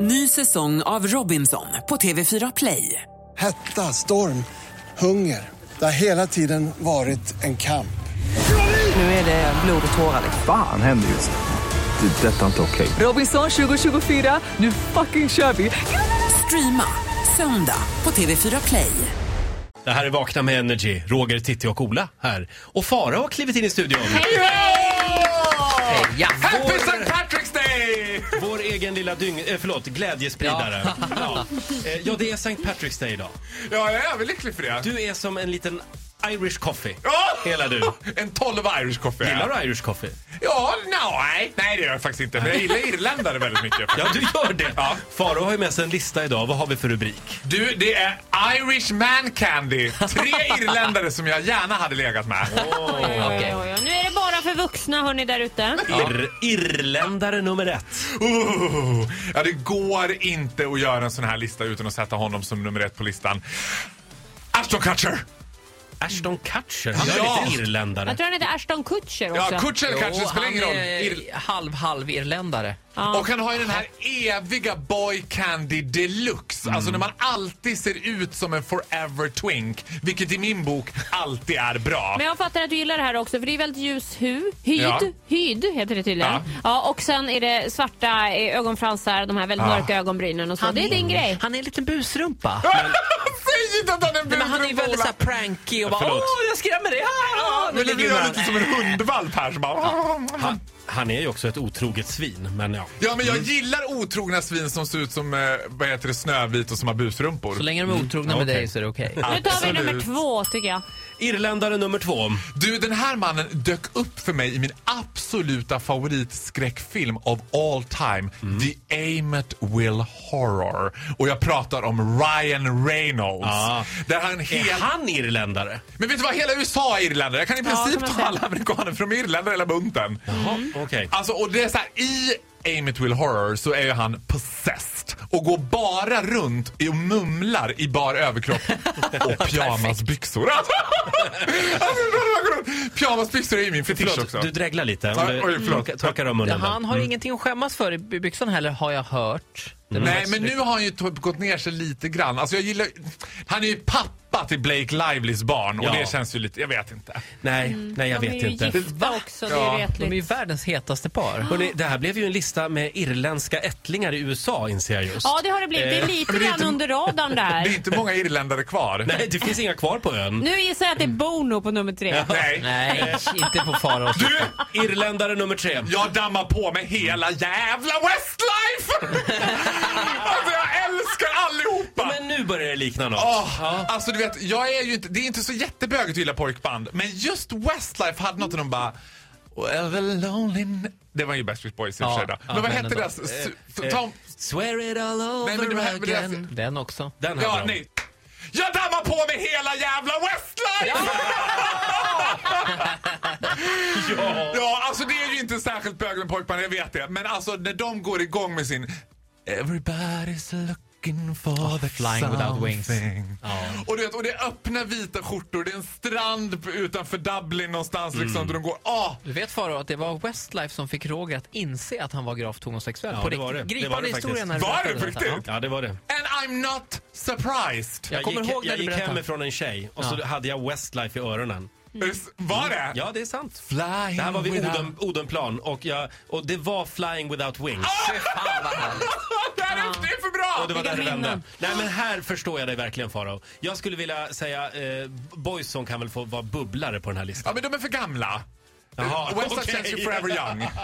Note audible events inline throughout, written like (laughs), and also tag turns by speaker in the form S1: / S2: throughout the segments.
S1: Ny säsong av Robinson på TV4 Play.
S2: Hetta, storm, hunger. Det har hela tiden varit en kamp.
S1: Nu är det blod och tårar.
S3: Fan händer just nu. Det. är Detta är inte okej.
S1: Robinson 2024, nu fucking kör vi! Streama söndag på TV4 Play.
S4: Det här är Vakna med Energy, Roger, Titti och Ola här. Och Farao har klivit in i studion.
S5: Ja.
S4: Vår-
S5: Happy St. Patrick's Day!
S4: Vår egen lilla dyng... Eh, förlåt, glädjespridare. Ja. Ja. Eh, ja, det är St. Patrick's Day idag.
S5: Ja, jag är väl lycklig för det.
S4: Du är som en liten Irish coffee.
S5: Ja!
S4: Hela du.
S5: En 12 Irish coffee.
S4: Gillar du Irish coffee?
S5: Ja, nej. Nej, det gör jag faktiskt inte. Men jag gillar irländare väldigt mycket.
S4: Ja, du gör det.
S5: Ja.
S4: Farao har ju med sig en lista idag. Vad har vi för rubrik?
S5: Du, det är Irish man candy. Tre irländare som jag gärna hade legat med.
S6: Oj, oj, oj, oj. Nu är det bara för vuxna hörni där ute.
S4: Ir- Irländare nummer ett.
S5: Oh, ja, det går inte att göra en sån här lista utan att sätta honom som nummer ett på listan. Ashton Kutcher!
S4: Ashton Kutcher. Han är
S5: Ja.
S4: lite irländare.
S6: Jag tror han heter Ashton Kutcher också.
S5: Ja, Kutcher kanske, det spelar ingen roll. Ir-
S7: halv-halv-irländare.
S5: Och han har ju den här eviga boy candy deluxe.
S7: Mm.
S5: Alltså när man alltid ser ut som en forever twink. Vilket i min bok alltid är bra.
S6: Men jag fattar att du gillar det här också för det är väldigt ljus hu. Hyd,
S5: Ja.
S6: hyd heter det tydligen.
S5: Ja.
S6: Ja. och sen är det svarta eh, ögonfransar, de här väldigt
S5: Ja.
S6: mörka ögonbrynen och så. det är din grej.
S7: Han är en liten busrumpa.
S5: (laughs) Säg inte att han är en
S7: Men han är
S5: budrumpa,
S7: väldigt
S5: Ola.
S7: så här pranky och bara
S4: Förlåt.
S7: åh, jag skrämmer dig. Ah, ah,
S5: Men nu blir
S7: ligger
S5: jag
S7: man.
S5: lite som en hundvalp här som bara...
S4: Han, han är ju också ett otroget svin, men ja.
S5: Ja, men jag gillar otrogna svin som ser ut som eh, vad heter det, Snövit och som har busrumpor.
S7: Så länge de är otrogna med
S4: Okej.
S7: dig så är det okej.
S6: Nu tar vi
S5: Absolut.
S6: nummer två tycker jag.
S4: Irländare nummer två.
S5: Du, den här mannen dök upp för mig i min absoluta favoritskräckfilm of all time. The Amet Will Horror. Och jag pratar om Ryan Reynolds.
S4: Ja.
S5: Där han helt...
S4: Är han irländare?
S5: Men vet du vad? Hela USA är irländare. Jag kan i princip
S6: kan man
S5: ta
S6: säga.
S5: alla amerikaner från irländare hela bunten.
S4: Jaha, okej.
S5: Alltså, och det är så här, i Amet Will Horror så är ju han possessed och går bara runt och mumlar i
S4: (laughs)
S5: bar överkropp och pyjamasbyxor. (laughs) Alltså, alltså, går runt. pyjamasbyxor är ju min fetisch också.
S4: Förlåt, du dreglar lite. Mm,
S5: Ja,
S4: Om du
S5: oj, förlåt.
S4: torka- Torka dem munnen.
S7: Han har ingenting att skämmas för i by- byxan heller, har jag hört. Mm. Det var
S5: Nej,
S7: rätt
S5: men nu
S7: snyggt.
S5: har han ju typ gått ner sig lite grann. Alltså jag gillar Han är ju pappa till Blake Livelys barn och
S4: Ja.
S5: det känns ju lite, jag vet inte.
S4: Nej,
S7: Mm.
S4: nej jag
S6: de är
S4: vet
S6: ju
S4: inte.
S6: gifta också, det är
S5: Ja,
S7: De är ju
S6: retligt.
S7: världens hetaste par.
S4: Hörrni, det här blev ju en lista med irländska ättlingar i USA inser jag just.
S6: Ja det har det blivit. Det
S5: Eh,
S6: är lite grann under radarn
S5: Det är (laughs)
S6: där.
S5: inte många irländare kvar.
S4: Nej, det finns inga kvar på ön.
S6: Nu gissar jag att det är Bono på nummer tre.
S5: Nej.
S7: Nej, (laughs) inte på Faraos.
S5: Du,
S4: Irländare nummer tre.
S5: jag dammar på med hela jävla Westlife! (laughs) alltså jag älskar allihopa!
S4: Men nu börjar det likna något.
S5: Åh, Alltså du vet, jag är ju inte, det är inte så jättebögigt att gilla pojkband, men just Westlife hade något och de bara... Well, the lonely... n-" Det var ju Backstreet Boys i och för sig då. Men vad
S7: men
S5: hette
S7: ändå.
S5: deras...
S4: Eh,
S5: s- Tom...
S4: Swear it all over
S5: Nej, men det alltså- här- men det här-
S4: again.
S7: Den också.
S4: Den här
S5: Ja,
S4: bra.
S5: nej. Jag dammar på med hela jävla Westlife! (laughs) Ja. ja, alltså det är ju inte särskilt bög med pojkband, jag vet det. Men alltså när de går igång med sin Everybody's looking for
S4: Oh,
S5: the
S7: Flying
S5: something.
S7: without wings.
S5: Och, du vet, och det är öppna vita skjortor, det är en strand på- utanför Dublin någonstans
S4: Mm.
S5: liksom. Och de går, ah!
S7: Du vet Farao att det var Westlife som fick Roger att inse att han var gravt homosexuell
S4: Ja,
S7: på
S4: det var
S7: riktigt.
S4: det. Det var
S7: Gripande
S4: det
S7: historia när du
S4: faktiskt.
S5: Var
S7: berättade
S5: det på
S7: detta.
S5: riktigt?
S4: Ja, det var det.
S5: And I'm not surprised!
S7: Jag kommer
S4: gick,
S7: ihåg när
S4: jag
S7: du
S4: gick
S7: berättade.
S4: hemifrån en tjej och så
S7: Ja.
S4: hade jag Westlife i öronen.
S5: Var det?
S4: Ja, det är sant.
S5: Flying
S4: Det här var vid
S5: without-
S4: Oden, Odenplan och, jag, och det var Flying Without Wings.
S5: (laughs) det, här är, det är för bra!
S4: Och det var där det
S6: minnen.
S4: vände. Nej men här förstår jag dig verkligen Farao. Jag skulle vilja säga eh, Boyzone kan väl få vara bubblare på den här listan.
S5: Ja, men de är för gamla.
S4: Jaha,
S5: Westlife
S4: okej.
S5: känns ju forever young.
S4: (laughs)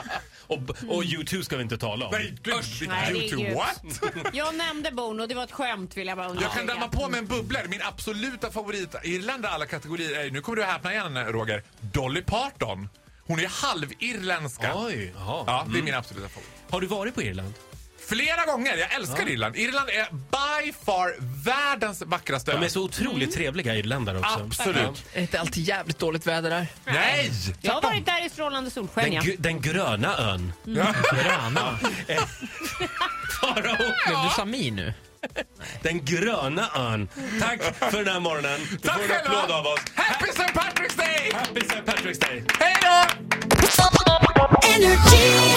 S4: Och, och U2 ska vi inte tala om.
S5: Nej, gud.
S6: Nej, det är
S5: YouTube,
S6: gud.
S5: what?
S6: Jag nämnde Bono, det var ett skämt vill jag bara
S5: Jag kan damma på med en bubblare. Min absoluta favorit irländare alla kategorier är, nu kommer du att häpna igen Roger, Dolly Parton. Hon är halvirländska.
S4: Oj, jaha. Mm.
S5: Ja, det är min absoluta favorit.
S4: Har du varit på Irland?
S5: Flera gånger, jag älskar Irland. Irland är by far världens vackraste
S4: De
S5: ö.
S4: är så otroligt trevliga irländare också.
S5: Absolut.
S7: Är det inte alltid jävligt dåligt väder där?
S5: Nej!
S6: Jag har varit där i strålande solsken
S4: Den,
S6: ja.
S4: gr- den gröna ön. Eh,
S7: Gröna?
S4: Farao,
S7: Blev du Samir nu?
S4: den gröna ön. Tack för den här morgonen. Du
S5: Tack
S4: får en applåd av oss.
S5: Happy St. Patrick's Day!
S4: Happy St. Patrick's Day!
S5: Hej då!
S8: Energy.